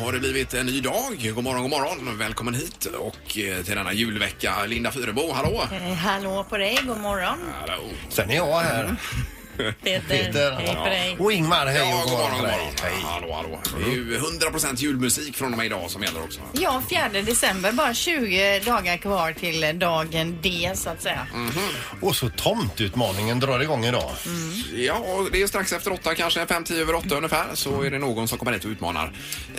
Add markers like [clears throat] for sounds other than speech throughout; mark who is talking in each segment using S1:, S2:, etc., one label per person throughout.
S1: har det blivit en ny dag. God morgon, god morgon. Välkommen hit och eh, till denna julvecka. Linda Fyrebo, hallå!
S2: Eh, Hallå på dig, god morgon
S1: Hallå.
S3: Sen är jag här.
S2: Peter.
S3: Peter.
S2: Mm. Hej på dig.
S3: Och Ingmar, hej
S1: Ja,
S3: och
S1: god morgon, god
S3: hej.
S1: morgon. Hallå, hallå. Det är ju 100% julmusik från och med idag som gäller också.
S2: Ja, 4 december, bara 20 dagar kvar till eh, dagen D så att säga.
S3: Mm. Och så tomtutmaningen drar igång idag.
S1: Ja, och det är strax efter åtta, kanske fem, tio över åtta ungefär, så är det någon som kommer hit och utmanar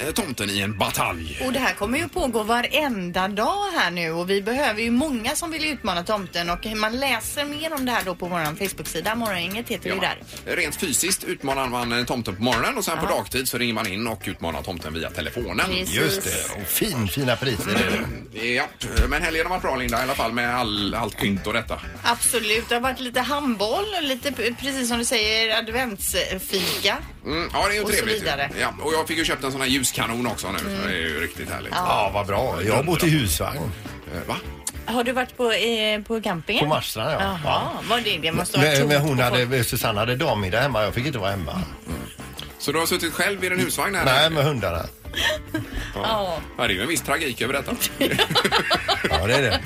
S1: eh, tomten i en batalj.
S2: Och det här kommer ju pågå varenda dag här nu och vi behöver ju många som vill utmana tomten och man läser mer om det här då på vår Facebook-sida. Morgongänget heter vi där.
S1: Rent fysiskt utmanar man eh, tomten på morgonen och sen på dagtid så ringer man in och utmanar tomten via telefonen.
S2: Precis.
S3: Just det. Och fin, fina priser är
S1: Mm.
S3: det.
S1: Ja, men helgen har varit bra Linda i alla fall med all, allt pynt och detta.
S2: Absolut, det har varit lite handboll och lite precis som du säger adventsfika.
S1: Mm, ja, det är ju
S2: Och så
S1: trevligt. ju.
S2: vidare. Mm.
S1: Ja, och jag fick ju köpt en sån här ljuskanon också nu. så Det är ju riktigt härligt.
S3: Ja, vad bra. Jag har bott i husvagn
S1: Eh, Va?
S2: Har du varit på, eh, på campingen?
S3: på Marstrand. Ja.
S2: Jaha,
S3: Ja.
S2: var det det? Måste ha varit
S3: Men, men
S2: tungt
S3: hon
S2: på folk.
S3: hade, Susanne hade dammiddag hemma. Jag fick inte vara hemma.
S1: Så du har suttit själv i din husvagn här?
S3: Nej, med hundarna.
S2: Ja.
S1: Ja, det är ju en viss tragik över
S2: [laughs]
S1: detta.
S3: Ja, det är det.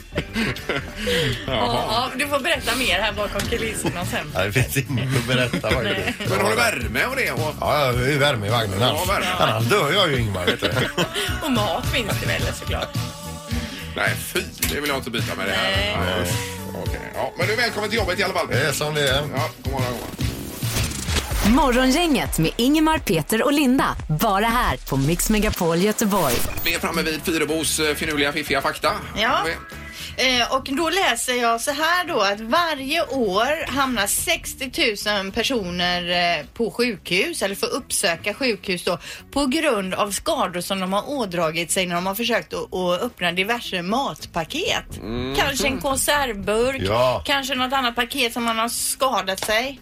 S2: Ja, du får berätta mer här bakom kulisserna sen.
S3: Ja, det finns inget att berätta faktiskt.
S1: Men har du värme och det? Och...
S3: Ja, det är värme i vagnen.
S1: Ja, värme.
S3: Annars dör jag ju Ingmar. Vet du.
S2: Och mat finns det väl såklart.
S1: Nej, fy! Det vill jag inte byta med det här.
S2: Nej.
S1: Nej. Okej, ja, men du är välkommen till jobbet i alla fall.
S3: Det är som det är.
S1: Ja, god morgon, god morgon.
S4: Morgongänget med Ingemar, Peter och Linda. Bara här på Mix Megapol Göteborg.
S1: Vi är framme vid Fyrebos eh, finurliga, fiffiga fakta.
S2: Ja.
S1: Vi-
S2: Eh, och då läser jag så här då att varje år hamnar 60 000 personer eh, på sjukhus eller får uppsöka sjukhus då på grund av skador som de har ådragit sig när de har försökt att, att öppna diverse matpaket. Kanske en konservburk,
S3: Ja.
S2: kanske något annat paket som man har skadat sig.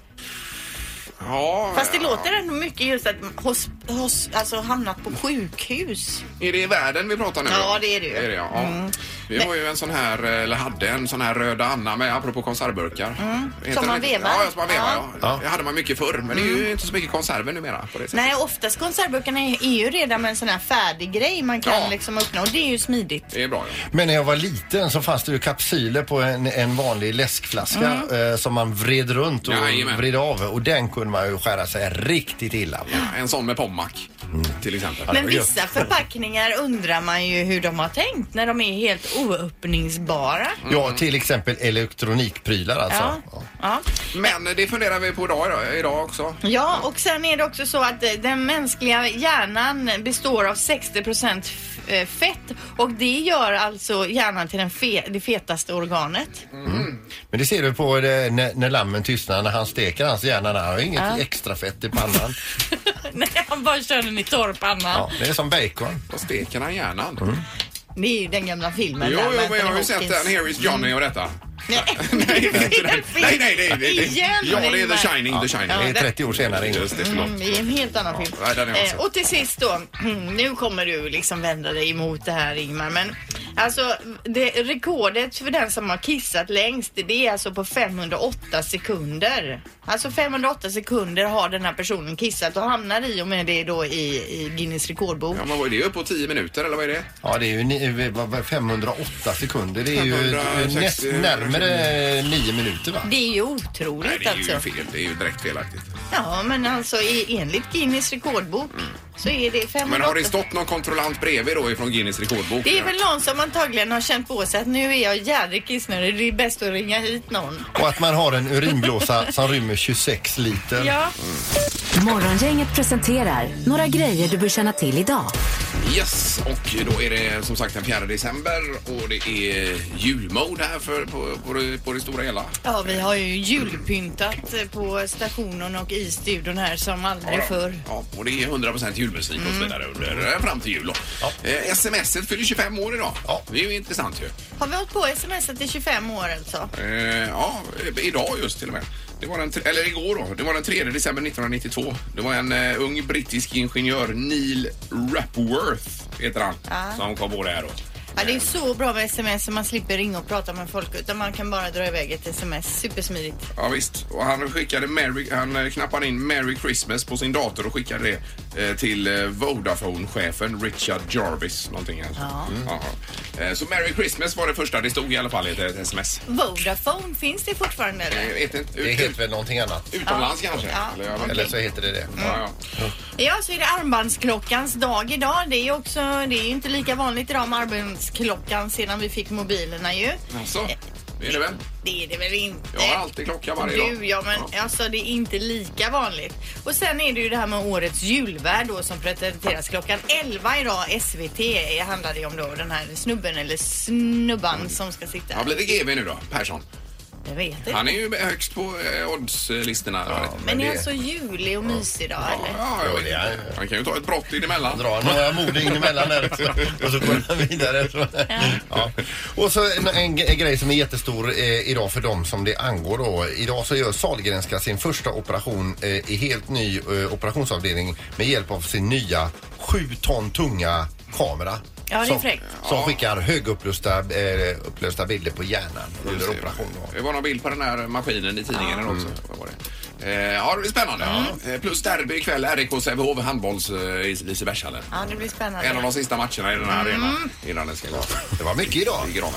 S1: Ja,
S2: Fast det
S1: ja.
S2: låter ändå mycket just att hos, hos, alltså hamnat på sjukhus.
S1: Är det i världen vi pratar nu?
S2: Ja,
S1: då?
S2: det är det ju. Mm.
S1: ja. ja. Vi har ju en sån här, eh, eller hade en sån här röda Anna med, apropå konservburkar. Heter
S2: Mm. Som man
S1: det?
S2: vevar.
S1: Ja, som man vevar. Ja.
S2: Ja.
S3: Ja.
S1: Det hade man mycket förr, men det är ju inte så mycket konserver numera på det sättet.
S2: Nej, oftast konservburkarna är är ju redan med en sån här färdig grej man kan
S1: Ja.
S2: liksom öppna och det är ju smidigt.
S1: Det är bra, ja.
S3: Men när jag var liten så fanns det ju kapsyler på en, en vanlig läskflaska eh, som man vred runt och
S1: Jajamän.
S3: vred av och den kunde man ju skära sig riktigt illa med.
S1: En sån med pommack,
S3: Mm.
S1: till exempel.
S2: Men
S3: det var
S2: vissa förpackningar undrar man ju hur de har tänkt när de är helt oöppningsbara.
S3: Ja, till exempel elektronikprylar alltså.
S2: Ja.
S3: Ja.
S2: Ja.
S1: Men det funderar vi på idag, idag också.
S2: ja, och sen är det också så att eh, den mänskliga hjärnan består av 60 procent eh, fett och det gör alltså hjärnan till den fe det fetaste organet.
S3: Men det ser du på det, när, när lammen tystnar, när han steker hans hjärna, där. han har ju inget extra fett i pannan.
S2: [laughs] Nej, han bara kör den i torrpannan.
S3: Ja, det är som bacon.
S1: Vad steker han hjärnan?
S3: Mm.
S2: Det är ju den gamla filmen
S1: Jo,
S2: där
S1: jo,
S2: med
S1: men jag har ju
S2: Anthony
S1: sett
S2: Hopkins.
S1: den, Here is Johnny och
S2: [laughs]
S1: detta.
S2: Nej,
S1: [laughs] Nej, nej, nej, nej, nej, nej, nej.
S2: Igen,
S1: Ja, det är The
S2: Ingmar.
S1: Shining, The Shining.
S3: Det är 30 år senare. Ingmar.
S1: Just det, förlåt.
S2: Mm, det är en helt annan film.
S1: nej, den är jag också.
S2: Eh, och till sist då, mm, nu kommer du liksom vända dig emot det här Ingmar, men alltså det, rekordet för den som har kissat längst, det är alltså på 508 sekunder. Alltså 508 sekunder har den här personen kissat och hamnar i och med det då i, i Guinness rekordbok.
S1: Ja, men vad är det? Upp på 10 minuter, eller vad är det?
S3: Ja, det är ju ni- eh, vad- vad- 508 sekunder. Det är ju
S1: 560
S3: näst, närmare 9 minuter va?
S2: Det är ju
S1: Nej,
S2: otroligt
S1: det är ju
S2: alltså.
S1: fel. Det är ju direkt felaktigt.
S2: Ja, men alltså i- enligt Guinness rekordbok så är det 508
S1: Mm. Men har det stått någon kontrollant bredvid då ifrån Guinness rekordbok?
S2: Det är väl någon som antagligen har känt på sig att nu är jag jävligt kissnödig. Det är bäst att ringa hit någon.
S3: Och att man har en urinblåsa som rymmer 26 liter.
S2: Ja.
S4: Morgongänget presenterar några grejer du bör känna till idag.
S1: Yes, och då är det som sagt den 4 december och det är julmode här för, på, på, det, på det stora hela.
S2: ja, vi har ju julpyntat eh, på stationen och i studion här som aldrig förr.
S1: Ja, och det är 100% julmusik och
S2: Mm.
S1: så vidare under, fram till jul då.
S3: Ja.
S1: Eh, sms fyller 25 år idag.
S3: Ja.
S1: Det är ju intressant ju.
S2: Har vi hållit på smsat i 25 år alltså?
S1: Eh, ja, eh, idag just till och med. Det var den, tre- eller igår då. Det var den 3 december 1992. Det var en eh, ung brittisk ingenjör, Neil Rapworth heter han, som kom på det här då.
S2: Ja, det är så bra med sms så man slipper ringa och prata med folk utan man kan bara dra iväg ett sms. Supersmidigt.
S1: Ja, visst. Och han skickade Merry, han eh, knappade in Merry Christmas på sin dator och skickade det eh, till eh, Vodafone-chefen Richard Jarvis. Någonting alltså. Mm. Ja. Eh, Så Merry Christmas var det första. Det stod i alla fall i ett, ett sms.
S2: Vodafone, finns det fortfarande
S1: Jag
S2: eller?
S1: vet inte.
S3: Det
S1: Ut,
S3: heter väl någonting annat.
S1: utomlands kanske?
S2: Ja.
S1: Eller, jag vet
S3: Eller
S1: inte.
S3: så heter det det.
S1: ja, ja.
S2: Ja, så är det armbandsklockans dag idag. Det är ju också, det är ju inte lika vanligt idag med armbandsklockan sedan vi fick mobilerna ju.
S1: Alltså, det är det väl?
S2: Det är det väl inte?
S1: Jag har alltid klocka varje
S2: Du,
S1: dag.
S2: ja men alltså det är inte lika vanligt. Och sen är det ju det här med årets julvärd då som presenteras klockan 11 idag. SVT handlar det om då den här snubben eller snubban som ska sitta.
S1: Mm. Ja, blir det GV nu då? Persson.
S2: Jag vet inte.
S1: Han är ju högst på eh, oddslistorna. Ja,
S2: Men
S3: Men
S2: det är
S3: det-
S2: alltså julig och mysig idag eller?
S1: ja, jag vet
S3: Ja, det är-
S1: inte. Han kan ju ta ett brott in emellan.
S3: Dra några mord in emellan där också, och så går han vidare. Ja. Och så en, en g- grej som är jättestor eh, idag för dem som det angår då. Idag så gör Sahlgrenska sin första operation eh, i helt ny eh, operationsavdelning med hjälp av sin nya 7 ton tunga kamera.
S2: Ja, det är
S3: som,
S2: fräckt.
S3: Som skickar högupplösta eh, upplösta bilder på hjärnan under operation. Då.
S1: Det var någon bild på den här maskinen i tidningen också. Vad var det? Eh, ja, det blir spännande.
S2: Mm.
S1: Eh, Plus derby ikväll, RIK Sävehof, handbolls eh, i Lisebergshallen.
S2: Ja, det Mm. blir
S1: En av
S2: spännande.
S1: de sista matcherna i den här arenan innan den ska gå
S3: Det var mycket idag.
S1: i graven.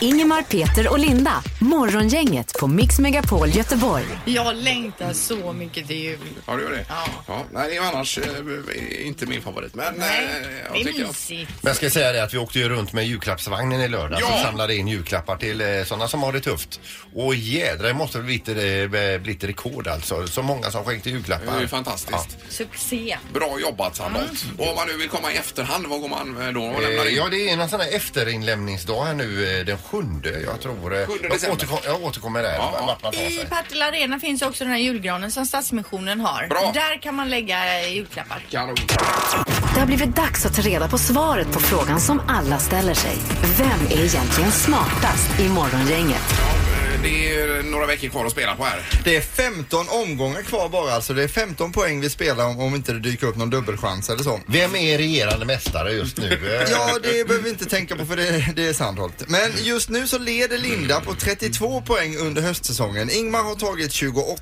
S4: Ingemar, Peter och Linda. Morgongänget på Mix Megapol Göteborg.
S2: Jag längtar så mycket till jul.
S1: Ja, du gör det?
S2: Ja.
S1: nej, det är ju annars eh, inte min favorit. Men
S2: Nej,
S1: eh, jag
S2: det är
S1: tycker att-
S2: mysigt.
S3: Men jag ska säga det att vi åkte ju runt med julklappsvagnen i lördags
S1: Ja.
S3: och samlade in julklappar till eh, sådana som har det tufft. Och jädrar, det måste bli ett, eh, bli ett rekord alltså. Så många som skänkte
S1: Det
S3: julklappar.
S1: är ju fantastiskt.
S2: Succé.
S1: Bra jobbat Sandholt. Och om man nu vill komma i efterhand, vad går man eh, då och
S3: Eh,
S1: lämnar in?
S3: Ja, det är en sån här efterinlämningsdag här nu eh, den sjunde, jag tror. eh,
S1: Sjunde
S3: jag,
S1: december.
S3: återkom, jag återkommer där.
S1: Ja, ja.
S3: vart man tar sig.
S2: I Partille Arena finns också den här julgranen som Stadsmissionen har.
S1: Bra.
S2: Där kan man lägga eh, julklappar.
S1: Kanon.
S4: Det har blivit dags att ta reda på svaret på frågan som alla ställer sig. Vem är egentligen smartast i Morgongänget?
S1: Eh, Det är några veckor kvar att spela på här.
S5: Det är 15 omgångar kvar bara alltså. Det är 15 poäng vi spelar om, om inte det dyker upp någon dubbelchans eller så.
S3: Vem är regerande mästare
S1: [laughs]
S3: just nu? Eh,
S5: Ja, det behöver vi inte tänka på för det, det är Sandholt. Men just nu så leder Linda på 32 poäng under höstsäsongen. Ingmar har tagit 28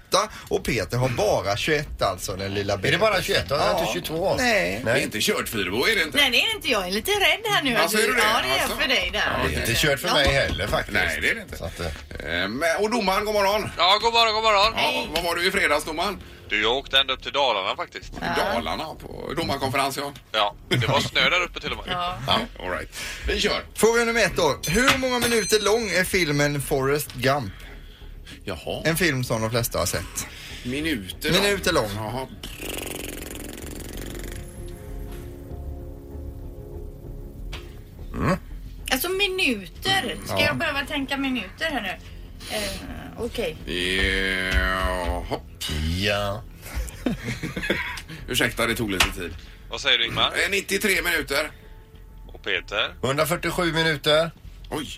S5: och Peter har bara 21 alltså, den lilla
S3: Är det bara 21? Har
S5: Ja.
S3: inte 22?
S5: Nej.
S1: Det är inte kört Fyrebo, är det inte?
S2: Nej, det är inte jag. Jag är lite rädd här nu.
S1: Alltså, är du det?
S2: Ja, det är jag
S1: Alltså.
S2: för dig där.
S1: Ja,
S3: Det är inte kört för mig heller faktiskt.
S1: Nej, det är det inte.
S3: Så att, eh,
S1: Eh, men- Och domaren, god morgon.
S6: Ja, god morgon, god morgon.
S1: Ja, vad var du i fredags domaren?
S6: Du, jag åkte ända upp till Dalarna faktiskt.
S1: Dalarna på domarkonferens ja.
S6: Ja, det var snö där uppe till och med.
S1: ja. All right. Vi kör.
S5: Fråga nummer ett då. Hur många minuter lång är filmen Forrest Gump?
S1: Jaha.
S5: En film som de flesta har sett.
S1: Minuter då.
S5: Minuter lång.
S1: Jaha.
S2: Alltså minuter. Ska jag behöva tänka minuter här nu? Eh, Okej.
S1: Jaha.
S3: Ja.
S1: Ursäkta, det tog lite tid.
S6: Vad säger du Ingmar?
S1: Eh, 93 minuter.
S6: Och Peter?
S3: 147 minuter.
S1: Oj.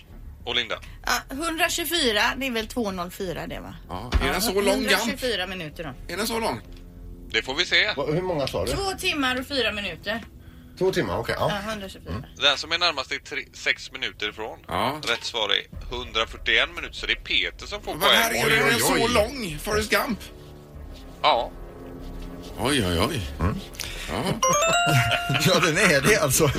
S6: Och Linda?
S2: Ja, 124, det är väl 204 det va?
S1: Ja, är den så lång Gamp?
S2: 124 minuter då.
S1: Är den så lång?
S6: Det får vi se.
S3: Va- Hur många sa du?
S2: Två timmar och fyra minuter.
S3: Två timmar, okej.
S2: Ja,
S3: ja.
S2: 124.
S1: Mm.
S6: Den som är närmast är tre, sex minuter ifrån.
S1: Ja.
S6: Rätt svar är 141 minuter, så det är Peter som får
S1: Men här
S6: poäng.
S1: är den
S3: oj,
S1: så
S3: oj.
S1: lång, Forrest Gump.
S6: Ja.
S1: Oj, oj, oj.
S5: Ja, den är det alltså. [laughs]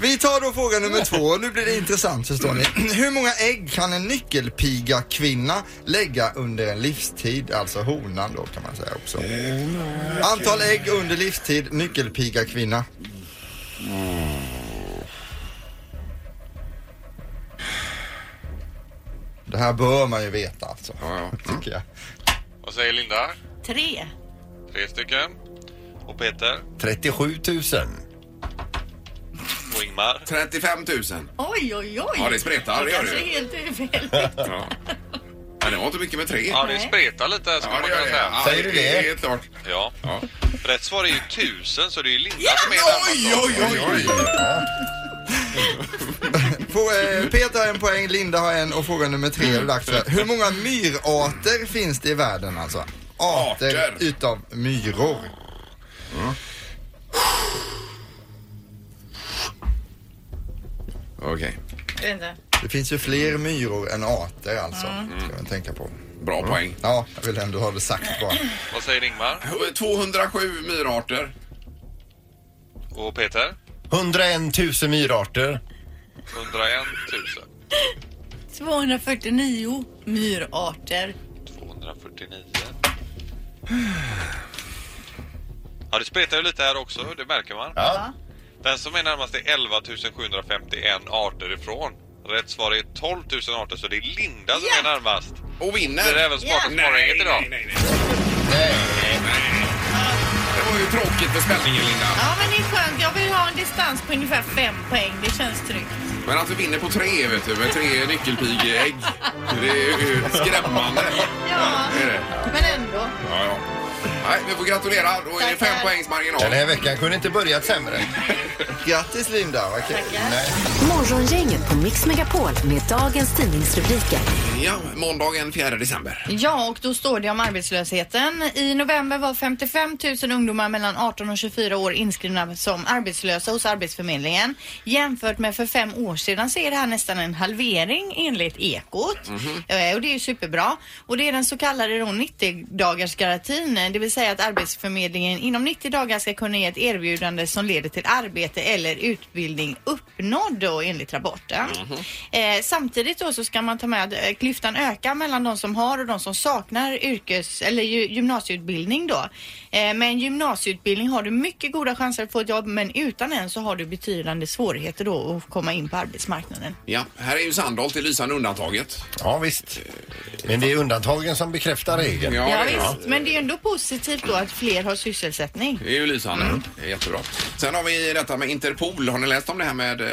S5: Vi tar då fråga nummer två. Nu blir det intressant förstår ni. [clears throat] Hur många ägg kan en nyckelpiga kvinna lägga under en livstid? Alltså honan då kan man säga också. Antal ägg under livstid, nyckelpiga kvinna. Det här bör man ju veta alltså.
S1: Ja, Mm. ja.
S5: Tycker jag.
S6: Vad säger Linda?
S2: Tre.
S6: Tre stycken. Och Peter?
S3: 37 000.
S6: Och Ingmar?
S1: 35 000.
S2: Oj, oj, oj.
S1: Ja, det spretar, det gör
S2: kanske
S1: det ju.
S2: är helt [laughs] fel.
S1: Ja. Men det var inte mycket med tre.
S6: Ja, det
S2: Nej.
S6: spretar lite här skulle man kunna säga.
S3: Säger du det?
S1: Helt klart.
S6: Ja.
S1: Ja.
S6: Rätt svar är ju 1000, så det är ju Linda som är närmast.
S1: Oj, oj, oj, Alltså, oj.
S5: Få- eh, Peter har en poäng, Linda har en och fråga nummer tre är det dags för. Hur många myrarter finns det i världen alltså? Arter,
S1: Arter.
S5: utav myror.
S1: Okej.
S2: Vänta.
S5: Det finns ju fler myror än arter alltså. Ska man tänka på.
S1: Bra poäng.
S5: Ja, jag vill ändå ha det sagt bara.
S6: Vad säger Ingmar?
S1: 207 myrarter.
S6: Och Peter?
S3: 101 000 myrarter.
S6: 101 000.
S2: 249 myrarter.
S6: 249. Ja, det spretar ju lite här också, det märker man.
S3: Ja.
S6: Den som är närmast är 11 751 arter ifrån. Rätt svar är 12 000 arter, så det är Linda som
S2: Ja.
S6: är närmast.
S1: Och vinner!
S6: Det är även smartast
S1: Nej,
S6: morgongänget idag.
S1: nej, nej, nej. Det var ju tråkigt för spänningen, Linda.
S2: Ja, men det är skönt. Jag vill ha en distans på ungefär fem poäng. Det känns tryggt.
S1: Men att du vinner på tre, vet du, med tre nyckelpigägg. Det är ju skrämmande.
S2: Ja,
S1: Det är det.
S2: men ändå.
S1: Ja, ja. Nej, vi får gratulera. Då är det
S2: Tackar.
S1: fem poängs marginal.
S3: Den här veckan kunde inte börjat sämre.
S5: Grattis Linda, vad kul.
S4: Morgongänget på Mix Megapol med dagens tidningsrubriker.
S1: Ja, måndagen 4 december.
S2: Ja, och då står det om arbetslösheten. I november var 55 000 ungdomar mellan 18 och 24 år inskrivna som arbetslösa hos Arbetsförmedlingen. Jämfört med för fem år sedan så är det här nästan en halvering enligt Ekot. Eh, Och det är ju superbra. Och det är den så kallade då 90-dagarsgarantin, det vill säga att Arbetsförmedlingen inom 90 dagar ska kunna ge ett erbjudande som leder till arbete eller utbildning uppnådd då enligt rapporten.
S1: Mhm.
S2: Eh, samtidigt då så ska man ta med att eh, klyftan ökar mellan de som har och de som saknar yrkes eller ju, gymnasieutbildning då. Eh, med en gymnasieutbildning har du mycket goda chanser att få ett jobb men utan en så har du betydande svårigheter då att komma in på arbetsmarknaden.
S1: Ja, här är ju Sandholt det lysande undantaget.
S3: Ja, visst. Men det är undantagen som bekräftar regeln.
S1: Ja,
S2: Ja,
S1: det är-
S2: visst, men det är ju ändå positivt då att fler har sysselsättning.
S1: Det är ju lysande.
S2: Mm.
S1: Det är jättebra. Sen har vi detta med Interpol. Har ni läst om det här med eh,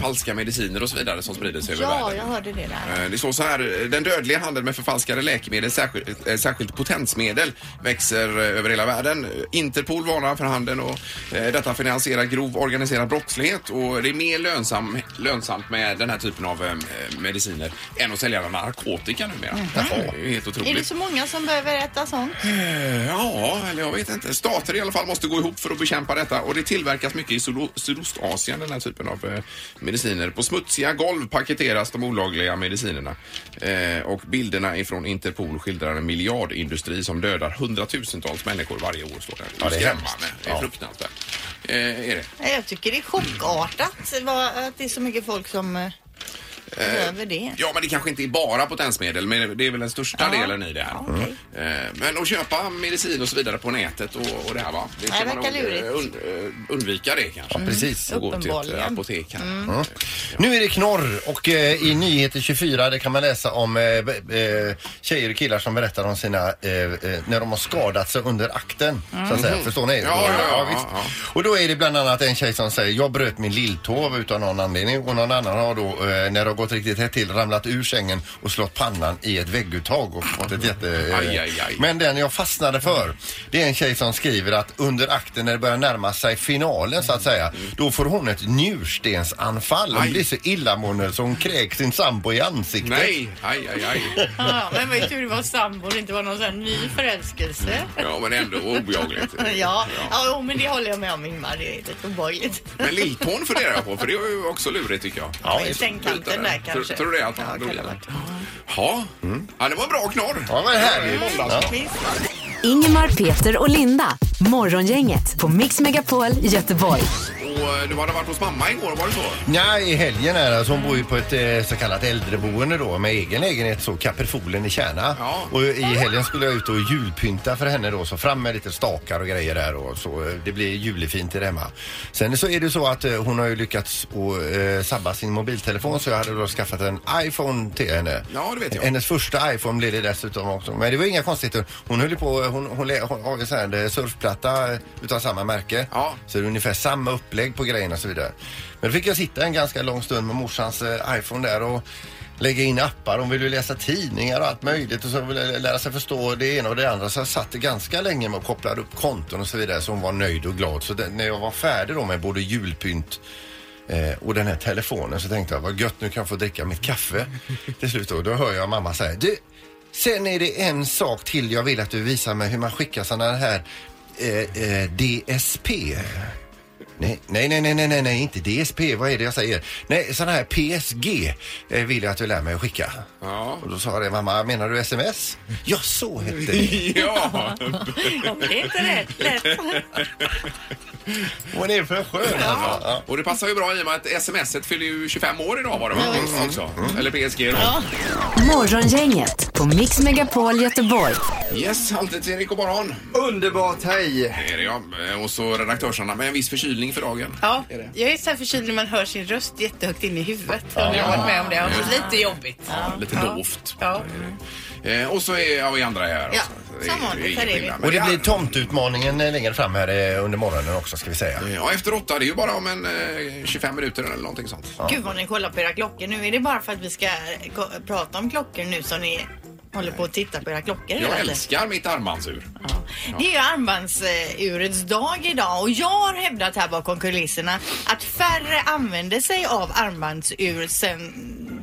S1: falska mediciner och så vidare som sprider sig över
S2: Ja,
S1: världen?
S2: jag hörde det där.
S1: Eh, Det står så här. Den dödliga handeln med förfalskade läkemedel, särskilt, eh, särskilt potensmedel, växer eh, över hela världen. Interpol varnar för handeln och eh, detta finansierar grov organiserad brottslighet och det är mer lönsam, lönsamt med den här typen av eh, mediciner än att sälja narkotika numera. Mm. Jaha, Det är helt
S2: Är det
S1: otroligt.
S2: så många som behöver äta sånt?
S1: Eh, Ja, eller jag vet inte. Stater i alla fall måste gå ihop för att bekämpa detta och det tillverkas mycket i Sudo- Sydostasien den här typen av eh, mediciner. På smutsiga golv paketeras de olagliga medicinerna eh, och bilderna ifrån Interpol skildrar en miljardindustri som dödar hundratusentals människor varje år. Står det.
S3: Ja, det är
S1: skrämmande.
S3: hemskt.
S1: Det är
S3: Ja.
S1: fruktansvärt. Eh, är det.
S2: Nej, Jag tycker det är chockartat vad- att det är så mycket folk som eh, behöver det.
S1: Ja, men det kanske inte är bara potensmedel, men det är väl den största
S2: Ja.
S1: delen i det här.
S2: Ja, okej.
S1: Eh, Men att köpa medicin och så vidare på nätet och, och det här va? Det ska
S2: Nej,
S1: man
S2: verkar
S1: nog, eh,
S2: lurigt. Mm.
S1: und- eh, undvika det kanske.
S3: Precis.
S1: Och gå till ett eh,
S2: Uppenbarligen. Mm.
S1: apotek här.
S3: Ja. Nu är det knorr och eh, i Nyheter 24 där kan man läsa om eh, b- eh, tjejer och killar som berättar om sina, eh, eh, när de har skadat sig under akten. Så att säga. Förstår ni?
S1: Mm. Ja, ja, ja,
S3: visst.
S1: ja.
S3: Och då är det bland annat en tjej som säger jag bröt min lilltå utan någon anledning och någon annan har då eh, när det har gått riktigt hett till ramlat ur sängen och slått pannan i ett vägguttag och fått ett jätte... Eh,
S1: Aj, aj, aj.
S3: Men den jag fastnade för det är en tjej som skriver att under akten när det börjar närma sig finalen så att säga då får hon ett njurstensanfall. Hon
S1: Mm. Aj.
S3: blir så illamående så hon kräks sin sambo i ansiktet.
S1: Nej, aj, aj, aj.
S2: Ja, men vad tur det var sambor, det inte var någon sån här ny förälskelse.
S1: Ja, men ändå obehagligt.
S2: [laughs] Ja, ja jo, men det håller jag med om Ingmar, det är lite obehagligt.
S1: Men lilltån funderar jag på, för det är ju också lurigt tycker jag.
S2: [laughs] Ja, I sängkanten där
S1: Tror-
S2: kanske.
S1: Tror du det? Att
S2: Ja,
S1: han drog
S2: kan det
S1: den?
S2: ha
S1: Ja, ja, det var en bra knorr.
S3: Mm. Ja, vad härligt. Ja.
S2: varit. Visst.
S4: Ingemar, Peter och Linda. Morgongänget på Mix Megapol Göteborg.
S1: Och eh, du hade varit hos mamma igår, var det så?
S3: Nej, i helgen är det. Alltså, hon bor ju på ett eh, så kallat äldreboende då med egen lägenhet, så Kaperfolen i Kärna.
S1: Ja.
S3: Och i helgen skulle jag ut och julpynta för henne då, så fram med lite stakar och grejer där och så. eh, Det blir julefint där hemma. Sen så är det så att eh, hon har ju lyckats att eh, sabba sin mobiltelefon så jag hade då skaffat en iPhone till henne.
S1: Ja, det vet jag.
S3: Hennes första iPhone blev det dessutom också. Men det var inga konstigheter. Hon höll ju på, hon, hon, lä- hon har ju så här en surfplatta eh, utav samma märke.
S1: Ja.
S3: Så det är ungefär samma upplägg på grejerna och så vidare. Men då fick jag sitta en ganska lång stund med morsans eh, iPhone där och lägga in appar. Hon ville ju läsa tidningar och allt möjligt och så ville jag lära sig förstå det ena och det andra. Så jag satt ganska länge med och kopplade upp konton och så vidare så hon var nöjd och glad. Så det, när jag var färdig då med både julpynt Eh, och den här telefonen så tänkte jag vad gött nu kan jag få dricka mitt kaffe. Till slut då, då hör jag mamma säga du, sen är det en sak till jag vill att du visar mig hur man skickar sådana här eh, eh, DSP. Nej, nej, nej, nej, nej, nej, nej, inte DSP. Vad är det jag säger? Nej, sån här PSG eh, vill jag att du lär mig att skicka. [laughs]
S1: Ja.
S3: Och då sa jag det, mamma, menar du sms? Ja, så hette det.
S1: Ja,
S2: Ja, men det är inte rätt lätt.
S3: Vad är det för skön alltså? Ja.
S1: och det passar ju bra i och med att sms fyller ju 25 år idag var det va?
S3: Mm.
S1: Också. Eller PSG då.
S4: Morgongänget på Mix Megapol Göteborg.
S1: Yes, alltid Erik och morgon.
S5: Underbart, hej!
S1: Det är det ja. Och så redaktörsarna med en viss förkylning för dagen.
S2: Ja, jag är så här förkyld när man hör sin röst jättehögt in i huvudet. Ja. Jag har varit med om det. Och lite jobbigt.
S1: Ja, lite dovt.
S2: Ja.
S1: Eh, och så är ja, vi andra här.
S2: Ja,
S1: också. Det är-
S2: som vanligt
S1: det är
S2: här är vi.
S1: skillnad. Men
S3: Och det blir tomtutmaningen eh, längre fram här eh, under morgonen också ska vi säga.
S1: Ja, efter åtta. Det är ju bara om en eh, 25 minuter eller någonting sånt.
S2: Gud vad ni kollar på era klockor nu. Är det bara för att vi ska ko- prata om klockor nu som ni håller på att titta på era klockor hela
S1: Jag
S2: tiden?
S1: älskar mitt armbandsur.
S2: Ja. Det är ju armbandsurets dag idag och jag har hävdat här bakom kulisserna att färre använder sig av armbandsur sen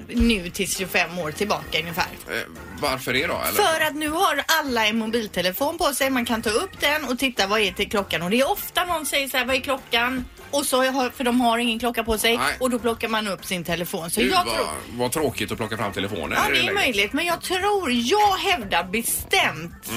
S2: nu till 25 år tillbaka ungefär.
S1: Eh, varför det då? Eller?
S2: För att nu har alla en mobiltelefon på sig. Man kan ta upp den och titta vad är till klockan. Och det är ofta någon säger så här, vad är klockan? Och så, har- för de har ingen klocka på sig.
S1: Nej.
S2: Och då plockar man upp sin telefon. Så
S1: Gud,
S2: jag
S1: vad,
S2: tror...
S1: vad tråkigt att plocka fram telefonen.
S2: Ja,
S1: i
S2: det är
S1: läget.
S2: möjligt. Men jag tror, jag hävdar bestämt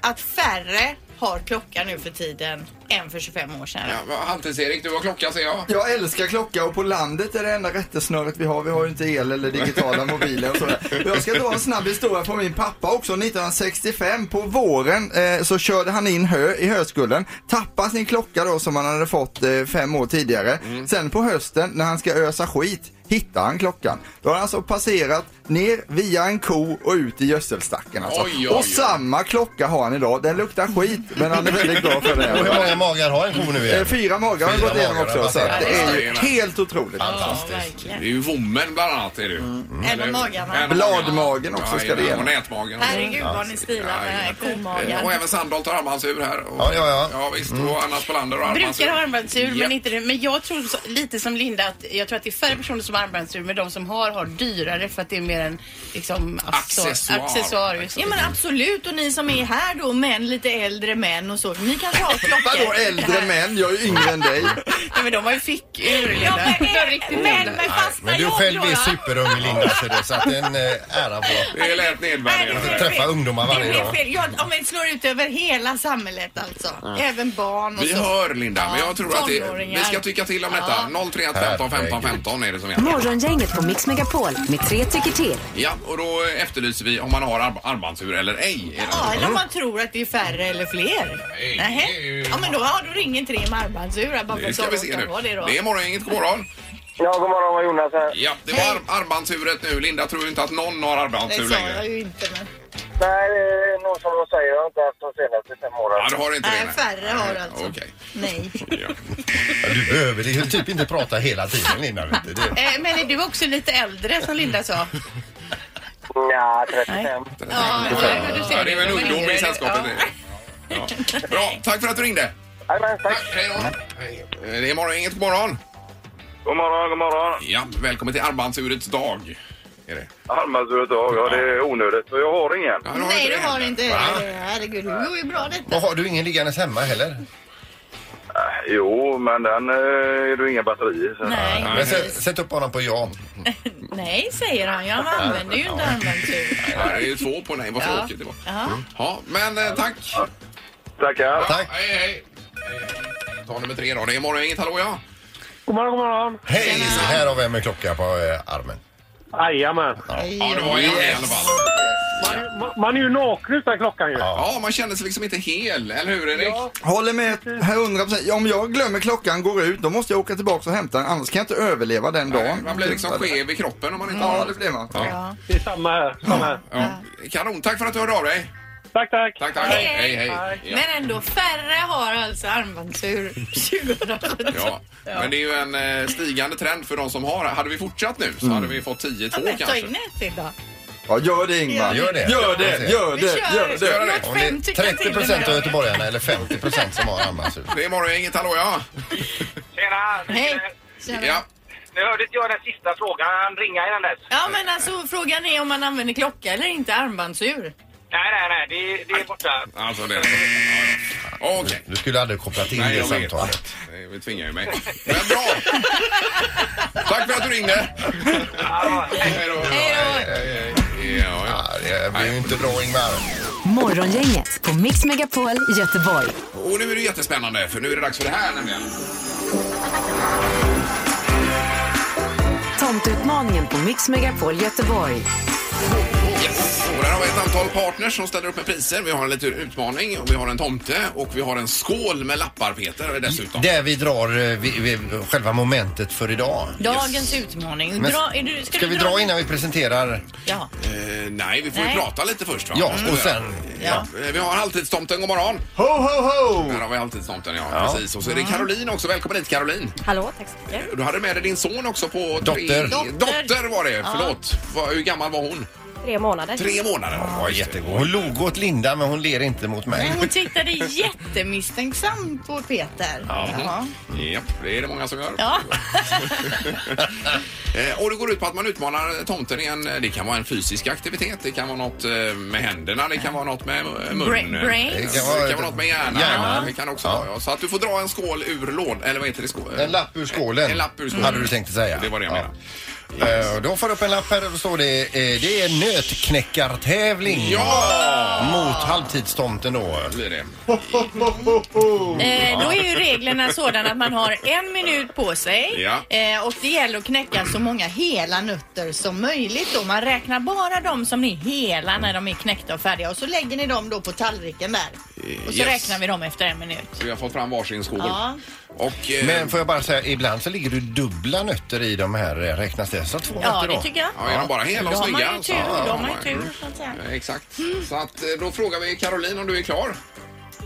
S2: att färre har klocka nu för tiden än för 25 år sedan.
S1: Ja, vad- Halvtids-Erik, du har klocka säger jag.
S5: Jag älskar klocka och på landet är det enda rättesnöret vi har. Vi har ju inte el eller digitala mobiler och sådär. Jag ska dra en snabb historia från min pappa också. 1965 på våren eh, så körde han in hö i höskullen. Tappade sin klocka då som han hade fått eh, fem år tidigare.
S1: Mm.
S5: Sen på hösten när han ska ösa skit hittar han klockan. Då har han alltså passerat ner via en ko och ut i gödselstacken alltså.
S1: Oj, oj,
S5: och
S1: oj.
S5: samma klocka har han idag. Den luktar skit men han är väldigt glad för det.
S3: Och hur många magar har en ko nu
S5: Eh,
S3: igen?
S5: Fyra magar har
S3: Fyra
S5: gått igenom
S3: magar
S5: också.
S3: har
S5: Så att det är ju
S1: passerat.
S5: helt otroligt.
S2: Ja,
S1: Det är
S2: verkligen.
S1: ju vommen bland annat. Är det ju. Mm.
S2: Eller
S1: Eller-
S2: magarna.
S1: eller
S5: Bladmagen också
S1: Ja,
S5: ska det
S1: ja, Och
S5: igenom.
S1: nätmagen. och så.
S2: Herregud vad ni stilar med den här
S1: Eh, Och
S2: komagen.
S1: även Sandholt har armbandsur här. Och,
S3: Ja, ja, ja.
S1: visst.
S5: Mm.
S1: Och Anna Spolander har armbandsur.
S7: Brukar ha armbandsur
S1: Ja.
S7: men inte det. Men jag tror så, lite som Linda att jag tror att det är färre personer som har armbandsur men de som har har dyrare för att det är mer en liksom accessor-
S1: Accessoar.
S7: accessoar just.
S2: alltså, Ja men absolut och ni som är här då män, lite äldre män och så. Ni kanske har klockor.
S5: Vadå
S2: [laughs]
S5: äldre män? Jag är ju yngre än dig.
S7: Nej, men de har ju fickur
S2: Ja,
S7: Linda.
S2: men,
S7: De riktigt
S2: eh,
S7: gamla.
S2: män med fasta
S3: Men du
S2: jobb
S3: själv
S2: då,
S3: är
S2: va?
S3: superung Linda så det- så att det är en eh, ära på
S1: Det är lätt
S2: Nej,
S1: nedvärderande.
S2: det-
S3: att träffa ungdomar
S2: Det
S3: varje
S2: blir
S3: dag.
S2: fel. Jag, om vi slår ut över hela samhället alltså. Även barn och
S1: Vi
S2: så.
S1: hör Linda, men jag
S2: Alltså- Ja,
S1: tror att det,
S2: tonåringar.
S1: vi ska tycka till om detta. 031 15 15 15 är det som gäller.
S4: Morgongänget på Mix Megapol med tre tycker till.
S1: Ja, och då efterlyser vi om man har arm- armbandsur eller ej. Är det-
S2: Ja, eller om man tror att det är färre eller fler.
S1: Nej,
S2: Nähä.
S1: det är ju-
S2: Ja, men då, ja, då ringer tre med armbandsur. här, bara för
S1: Nu
S2: att
S1: ska
S2: de
S1: vi se
S2: råkar
S1: nu.
S2: vara Det då.
S1: Det är morgongänget, god morgon.
S8: Ja, god morgon, vad Jonas här.
S1: Ja, det var arm- armbandsuret nu. Linda tror ju inte att någon har armbandsur
S2: Det sa jag
S1: längre.
S2: ju inte. Men...
S8: Nej, det är nog som de säger, jag har inte haft de senaste fem åren.
S1: Ja, du har inte det.
S2: Nej,
S1: nej.
S2: färre har alltså. [laughs]
S1: Okej.
S2: Nej.
S1: Ja.
S3: Ja, Du behöver det är ju typ inte prata hela tiden Linda. Vet du. Det,
S7: Eh, men är du också lite äldre som Linda sa?
S8: Nja, 35.
S7: Ja, men du ser
S1: Ja, det är väl en
S7: Men
S1: ungdom
S7: yngre är
S1: i
S7: det.
S1: sällskapet.
S7: Ja.
S1: Ja. Ja. Bra, tack för att du ringde.
S8: Jajamän, tack.
S1: Tack, hej då. Hej. Det är morgongänget, god morgon.
S9: God morgon, god morgon.
S1: Ja, välkommen till armbandsurets dag. Är det?
S9: Armbandsur idag, ja det är onödigt för jag har ingen.
S1: Ja, ju
S2: Nej,
S1: inte
S2: du
S1: det
S2: har
S1: heller.
S2: inte det. Herregud, det går ju bra detta.
S3: och har du ingen liggandes hemma heller?
S9: Äh, Jo, men den eh, är det inga batterier så.
S2: Nej,
S3: Men sätt, sätt upp honom på ja.
S2: nej, säger han. Jag använder ju inte armbandsur.
S1: Ja, det är ju två på nej, vad
S2: Ja.
S1: tråkigt det var.
S2: Ja.
S1: Ja, men eh, tack.
S9: Tackar.
S3: Tack.
S1: Hej, hej. Hej. Ta nummer tre då. Det är morgongänget, hallå ja.
S8: God morgon, god morgon.
S3: Hej! Här har vi en med klocka på eh, armen.
S8: Jajamän.
S1: Ja, det var en i alla fall.
S8: Man, man är ju naken utan klockan ju.
S1: Ja, man känner sig liksom inte hel, eller hur Erik? Ja.
S5: Håller med här 100%. Om jag glömmer klockan, går ut, då måste jag åka tillbaka och hämta den. Annars kan jag inte överleva den dagen. Typ.
S1: Man blir liksom skev i kroppen om man inte
S5: Ja,
S1: har
S5: det blir man.
S8: Det är samma här. Samma här.
S1: ja. Kanon, tack för att du hörde av dig.
S8: Tack, tack.
S1: Tack, tack.
S2: Hej.
S1: Hej, hej. Ja.
S2: Men ändå, färre har alltså armbandsur 2017.
S1: Ja. men det är ju en eh, stigande trend för de som har. Hade vi fortsatt nu
S3: Mm.
S1: så hade vi fått 10-2
S2: Ja, men ta
S1: kanske.
S2: in ett idag.
S5: Ja, gör det Ingmar.
S3: Gör det.
S5: Gör det, gör
S2: Vi
S5: det, gör
S2: kör.
S5: det.
S2: Låt
S3: Om det
S2: fem
S3: är
S2: tycka
S3: 30
S2: till.
S3: procent av göteborgarna eller 50 procent som har armbandsur.
S1: Det är morgongänget, hallå ja.
S8: Tjena.
S2: Hej.
S1: ja.
S8: Nu hörde inte jag den sista frågan. Han ringa innan dess.
S2: Ja, men alltså frågan är om man använder klocka eller inte armbandsur.
S8: Nej, nej, nej. Det, det är borta.
S1: Alltså det. Okej. Okay.
S3: Du skulle aldrig kopplat in
S1: Nej,
S3: det
S1: jag vet.
S3: samtalet.
S1: Nej, Det tvingar ju mig. Men bra! Tack för att du ringde! Hej då! Hej, hej, hej. Ja, ja.
S3: Ja, det blir ju inte bra Ingmar.
S4: Morgongänget på Mix Megapol Göteborg.
S1: Och nu är det jättespännande för nu är det dags för det här nämligen.
S4: Tomtutmaningen på Mix Megapol Göteborg.
S1: Yes. Och där har vi ett antal partners som ställer upp med priser. Vi har en liten utmaning och vi har en tomte och vi har en skål med lappar Peter dessutom.
S3: Där vi drar eh, vi, vi, själva momentet för idag.
S2: Dagens utmaning.
S3: Men-
S2: Dra, är du, ska, du
S3: Ska vi dra innan vi presenterar?
S2: Ja.
S1: Eh, nej, vi får
S2: Nej.
S1: ju prata lite först va?
S3: Ja,
S1: Mm.
S3: och sen...
S1: Ja. Eh, Vi har halvtidstomten, god morgon.
S3: Ho, ho, ho!
S1: Här har vi halvtidstomten ja,
S3: Ja.
S1: precis. Och så är det Caroline också, välkommen hit Caroline.
S10: Hallå, tack så mycket.
S1: Du hade med dig din son också på...
S3: Dotter.
S1: Tre...
S2: Dotter.
S1: Dotter var det, förlåt. Vad- Hur gammal var hon?
S10: Tre månader.
S1: Tre månader.
S3: Ja, jättegod. Hon log åt Linda men hon ler inte mot mig.
S2: Hon tittade jättemisstänksamt på Peter. Ja.
S1: Japp, det är det många som gör.
S2: Ja.
S1: [laughs] Eh, Och det går ut på att man utmanar tomten i en, eh, det kan vara en fysisk aktivitet, det kan vara något eh, med händerna, det kan vara något med eh, munnen.
S2: Bra- brains.
S1: Det kan vara, det kan vara något med hjärnan.
S3: Hjärnan.
S1: Det kan också vara, ja. Så att du får dra en skål ur lådan, eller vad heter det? Skål?
S3: En lapp ur skålen.
S1: En lapp ur skålen.
S3: Hade du tänkt att säga.
S1: Det var det jag
S3: Ja.
S1: menade.
S3: Eh, Då får du upp en lapp här och då står det eh, Det är nötknäckartävling.
S1: Ja!
S3: Mot halvtidstomten då.
S1: Blir det.
S2: Eh, då är ju reglerna sådana att man har en minut på sig
S1: Ja.
S2: eh, och det gäller att knäcka så många hela nötter som möjligt. Då. Man räknar bara de som är hela när de är knäckta och färdiga och så lägger ni dem då på tallriken där. Och så
S1: Eh, Yes.
S2: räknar vi dem efter en minut.
S1: Så vi har fått fram varsin skål.
S2: Ja.
S1: Och, eh,
S3: Men får jag bara säga, ibland så ligger det dubbla nötter i de här. eh, Räknas det som två
S2: Ja,
S3: nötter då?
S2: det tycker jag.
S1: Ja, är de bara hela
S2: Då
S1: och
S2: har man
S1: snygga?
S2: ju tur.
S1: så-
S2: Då har man ju
S1: ja,
S2: tur. så att säga.
S1: ja, Exakt. Så att eh, då frågar vi Caroline om du är klar.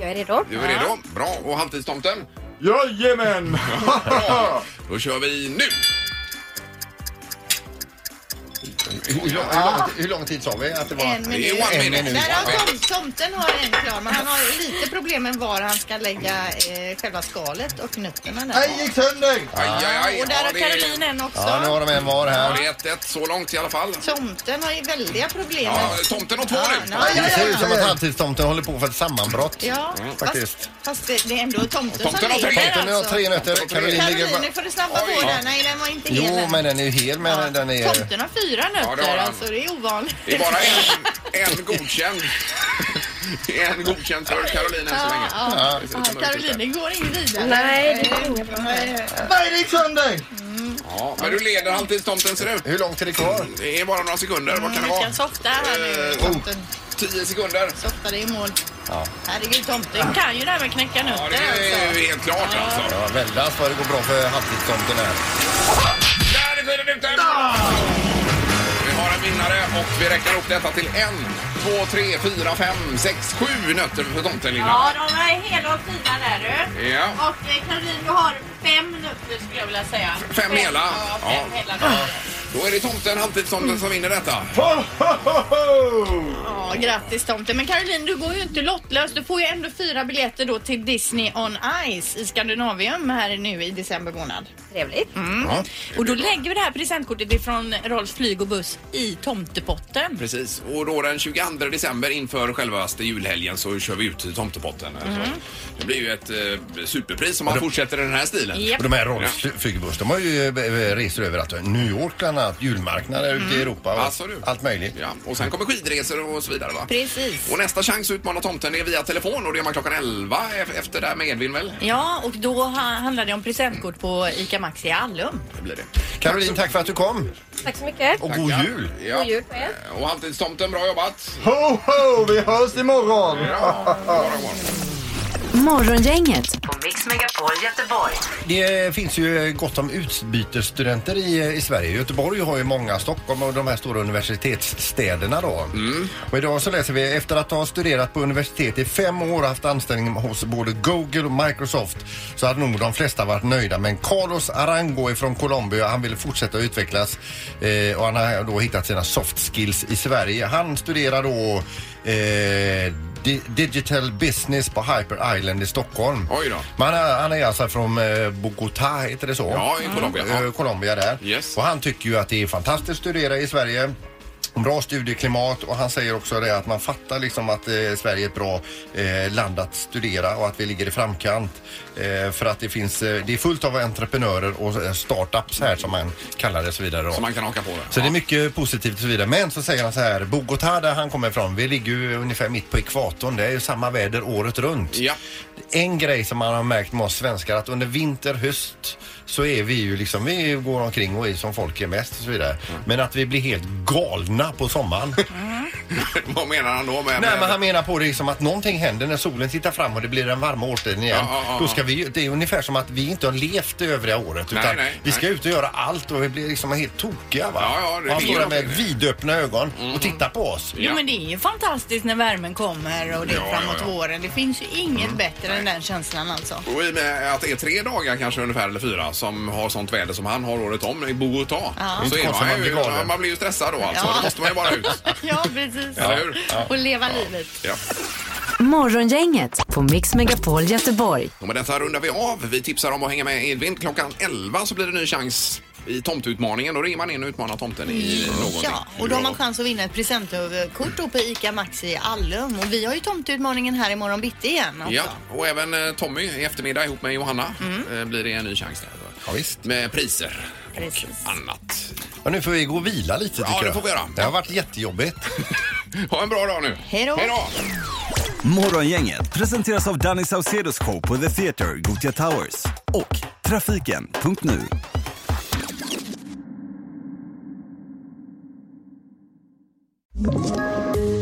S10: Jag är redo.
S1: Du är redo? Bra. Och halvtidstomten? [laughs]
S5: Jajamän!
S1: Då kör vi nu!
S3: Hur lång, hur, lång, hur lång tid sa vi att det var?
S2: En
S1: Det är
S2: minut.
S1: one
S3: En
S1: minute.
S3: minut.
S2: Där har tom, tomten har en klar, men han har lite problem med var han ska lägga eh, själva skalet och nötterna där.
S5: Nej, gick sönder!
S1: Aj, aj, aj.
S2: Och där
S1: Ja,
S2: har
S1: det-
S2: Caroline en också.
S3: Ja, nu har de en var
S1: Ja,
S3: här.
S1: det är 1-1 så långt i alla fall.
S2: Tomten har ju väldiga problem.
S1: Ja, tomten har två
S2: Ja,
S1: nu.
S2: nej.
S3: Det ser ut som att halvtidstomten håller på för ett sammanbrott.
S2: Ja,
S3: Mm, faktiskt.
S2: fast, fast det, det är ändå tomten,
S1: Tomten
S2: som
S1: har tre.
S2: ligger
S3: Tomten har
S2: alltså.
S3: tre nötter.
S1: Tomten-
S3: Caroline ligger...
S2: Caroline, nu får du snabba
S1: Oj.
S2: på den. Nej, den var inte hel.
S3: Jo,
S2: än.
S3: men den är ju hel. Men
S2: Ja.
S3: den är...
S2: Tomten har fyra
S1: Ja, det
S2: nötter,
S1: har han.
S2: alltså det är ovanligt.
S1: Det är bara en, en godkänd. en godkänd för Caroline än så länge.
S2: [laughs] Ja,
S1: Det ser
S2: ja.
S1: ut som möjligt
S2: Caroline, det
S1: där.
S2: går inte vidare.
S10: Nej, det är inget bra.
S5: Nej, gick sönder!
S1: Ja, men du leder halvtidstomten ser det ut.
S3: Hur långt är det kvar?
S1: Det är bara några sekunder. Vad kan det
S2: Vi
S1: vara?
S2: Eh, kan softa här nu,
S1: Eh,
S2: tomten.
S1: 10 sekunder.
S2: Softa dig i mål.
S3: Ja.
S2: Herregud, tomten kan ju det här med att knäcka
S1: Ja,
S2: nötter
S1: det är
S2: alltså.
S1: ju helt klart alltså.
S3: Ja, väldigt vad det går bra för halvtidstomten här.
S1: Där är tiden ute! Vi har en vinnare och vi räknar upp detta till en, två, tre, fyra, fem, sex, sju nötter för tomten Linda.
S2: Ja, de är hela och fina där du.
S1: Ja.
S2: Och eh, Caroline, du har fem nötter skulle jag vilja säga.
S1: Fem hela?
S2: Ja, fem
S1: Ja.
S2: hela nötter.
S1: Då är det tomten, halvtidstomten som vinner detta.
S2: Ja, grattis tomten. Men Caroline, du går ju inte lottlös. Du får ju ändå fyra biljetter då till Disney on Ice i Skandinavium här nu i december månad.
S10: Trevligt.
S2: Och då lägger vi det här presentkortet ifrån Rolfs flyg och buss i tomtepotten.
S1: Precis, och då den 22 december inför självaste julhelgen så kör vi ut tomtepotten.
S3: Mhm.
S1: Alltså, Det blir ju ett eh, superpris om man fortsätter i den här stilen.
S2: Japp.
S3: Och de här Rolf Flygebuss, de har ju eh, resor överallt. New York bland annat, julmarknader ute i Europa och
S1: Alltså, du.
S3: allt möjligt.
S1: Ja, och sen kommer skidresor och så vidare va?
S2: Precis.
S1: Och nästa chans att utmana tomten är via telefon och det är man klockan 11 e- efter det här med Edvin väl?
S2: Ja, och då ha- handlar det om presentkort på ICA Maxi i Allum.
S1: Det blir det.
S3: Caroline, tack för att du kom
S10: Tack så mycket.
S3: och god jul!
S1: Ja.
S10: God jul på er.
S1: Och halvtidstomten, bra jobbat!
S5: Ho, ho! Vi hörs imorgon!
S4: Morgongänget på Mix Megapol Göteborg.
S3: Det finns ju gott om utbytesstudenter i, i Sverige. Göteborg har ju många, Stockholm och de här stora universitetsstäderna då.
S1: Mm.
S3: Och idag så läser vi efter att ha studerat på universitet i fem år och haft anställning hos både Google och Microsoft så hade nog de flesta varit nöjda. Men Carlos Arango är från Colombia, han ville fortsätta utvecklas eh, och han har då hittat sina soft skills i Sverige. Han studerar då eh, di- Digital Business på Hyper Island i Stockholm.
S1: Oj då.
S3: Men han är, han är alltså från eh, Bogotá, heter det så?
S1: Ja, i Colombia.
S3: Eh, Colombia där.
S1: Yes.
S3: Och han tycker ju att det är fantastiskt att studera i Sverige. Bra studieklimat och han säger också det att man fattar liksom att eh, Sverige är ett bra eh, land att studera och att vi ligger i framkant. Eh, för att det finns, eh, det är fullt av entreprenörer och eh, startups här som man kallar det och så vidare. då.
S1: Som man kan haka på det.
S3: Så det är mycket positivt och så vidare. Men så säger han så här, Bogotá där han kommer ifrån, vi ligger ju ungefär mitt på ekvatorn. Det är ju samma väder året runt. En grej som man har märkt med oss svenskar att under vinter, höst så är vi ju liksom, vi går omkring och är som folk är mest och så vidare. Men att vi blir helt galna på sommaren.
S1: [laughs] Vad menar han då med...
S3: Nej men han menar på det som att någonting händer när solen tittar fram och det blir den varma årstiden igen.
S1: Ja, ja, ja,
S3: Då ska vi, ju- det är ungefär som att vi inte har levt det övriga året
S1: Nej,
S3: utan
S1: nej,
S3: vi ska ut och göra allt och vi blir liksom helt tokiga va.
S1: Ja, ja, det är
S3: och han
S1: Mm.
S3: står där med
S1: någonting, det.
S3: vidöppna ögon och tittar på oss.
S2: Jo men det är ju fantastiskt när värmen kommer och det är
S1: Ja,
S2: framåt
S1: ja, Mm. ja.
S2: våren. Det finns ju inget bättre än den
S1: [laughs]
S2: känslan alltså.
S1: Och i och med att det är tre dagar kanske ungefär eller fyra som har sånt väder som han har året om i Bogotá.
S2: Ja.
S1: Så
S2: Inte
S1: är
S2: konstigt
S1: man,
S2: man
S1: ju,
S2: blir galen.
S1: ja, man blir ju stressad då alltså.
S2: Ja.
S1: Då måste man ju bara
S2: [laughs]
S1: ut.
S2: Ja precis.
S1: Eller hur? Ja.
S2: Och leva livet.
S1: Ja.
S4: Morgongänget på Mix Megapol Göteborg.
S1: Och med detta rundar vi av. Vi tipsar om att hänga med Edvin. Klockan 11 så blir det ny chans i tomteutmaningen. Då ringer man in och utmanar tomten i någonting.
S2: Ja, och då har man chans att vinna ett presentkort då på ICA Maxi i Allum. Och vi har ju tomteutmaningen här imorgon bitti igen också. Mm.
S1: Ja, och även eh, Tommy i eftermiddag ihop med Johanna eh, blir det en ny chans där. Med priser och annat.
S3: Och nu får vi gå och vila lite tycker
S1: Ja, det
S3: jag.
S1: får vi göra.
S3: Det har varit jättejobbigt.
S1: ha en bra dag nu.
S2: Hej då!
S11: Morgongänget presenteras av Danny Saucedos show på The Theatre, Gothia Towers och Trafiken.nu.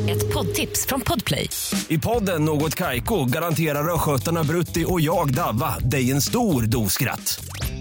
S12: Ett poddtips från Podplay.
S13: I podden Något Kaiko garanterar östgötarna Brutti och jag, Davva, dig en stor dos skratt.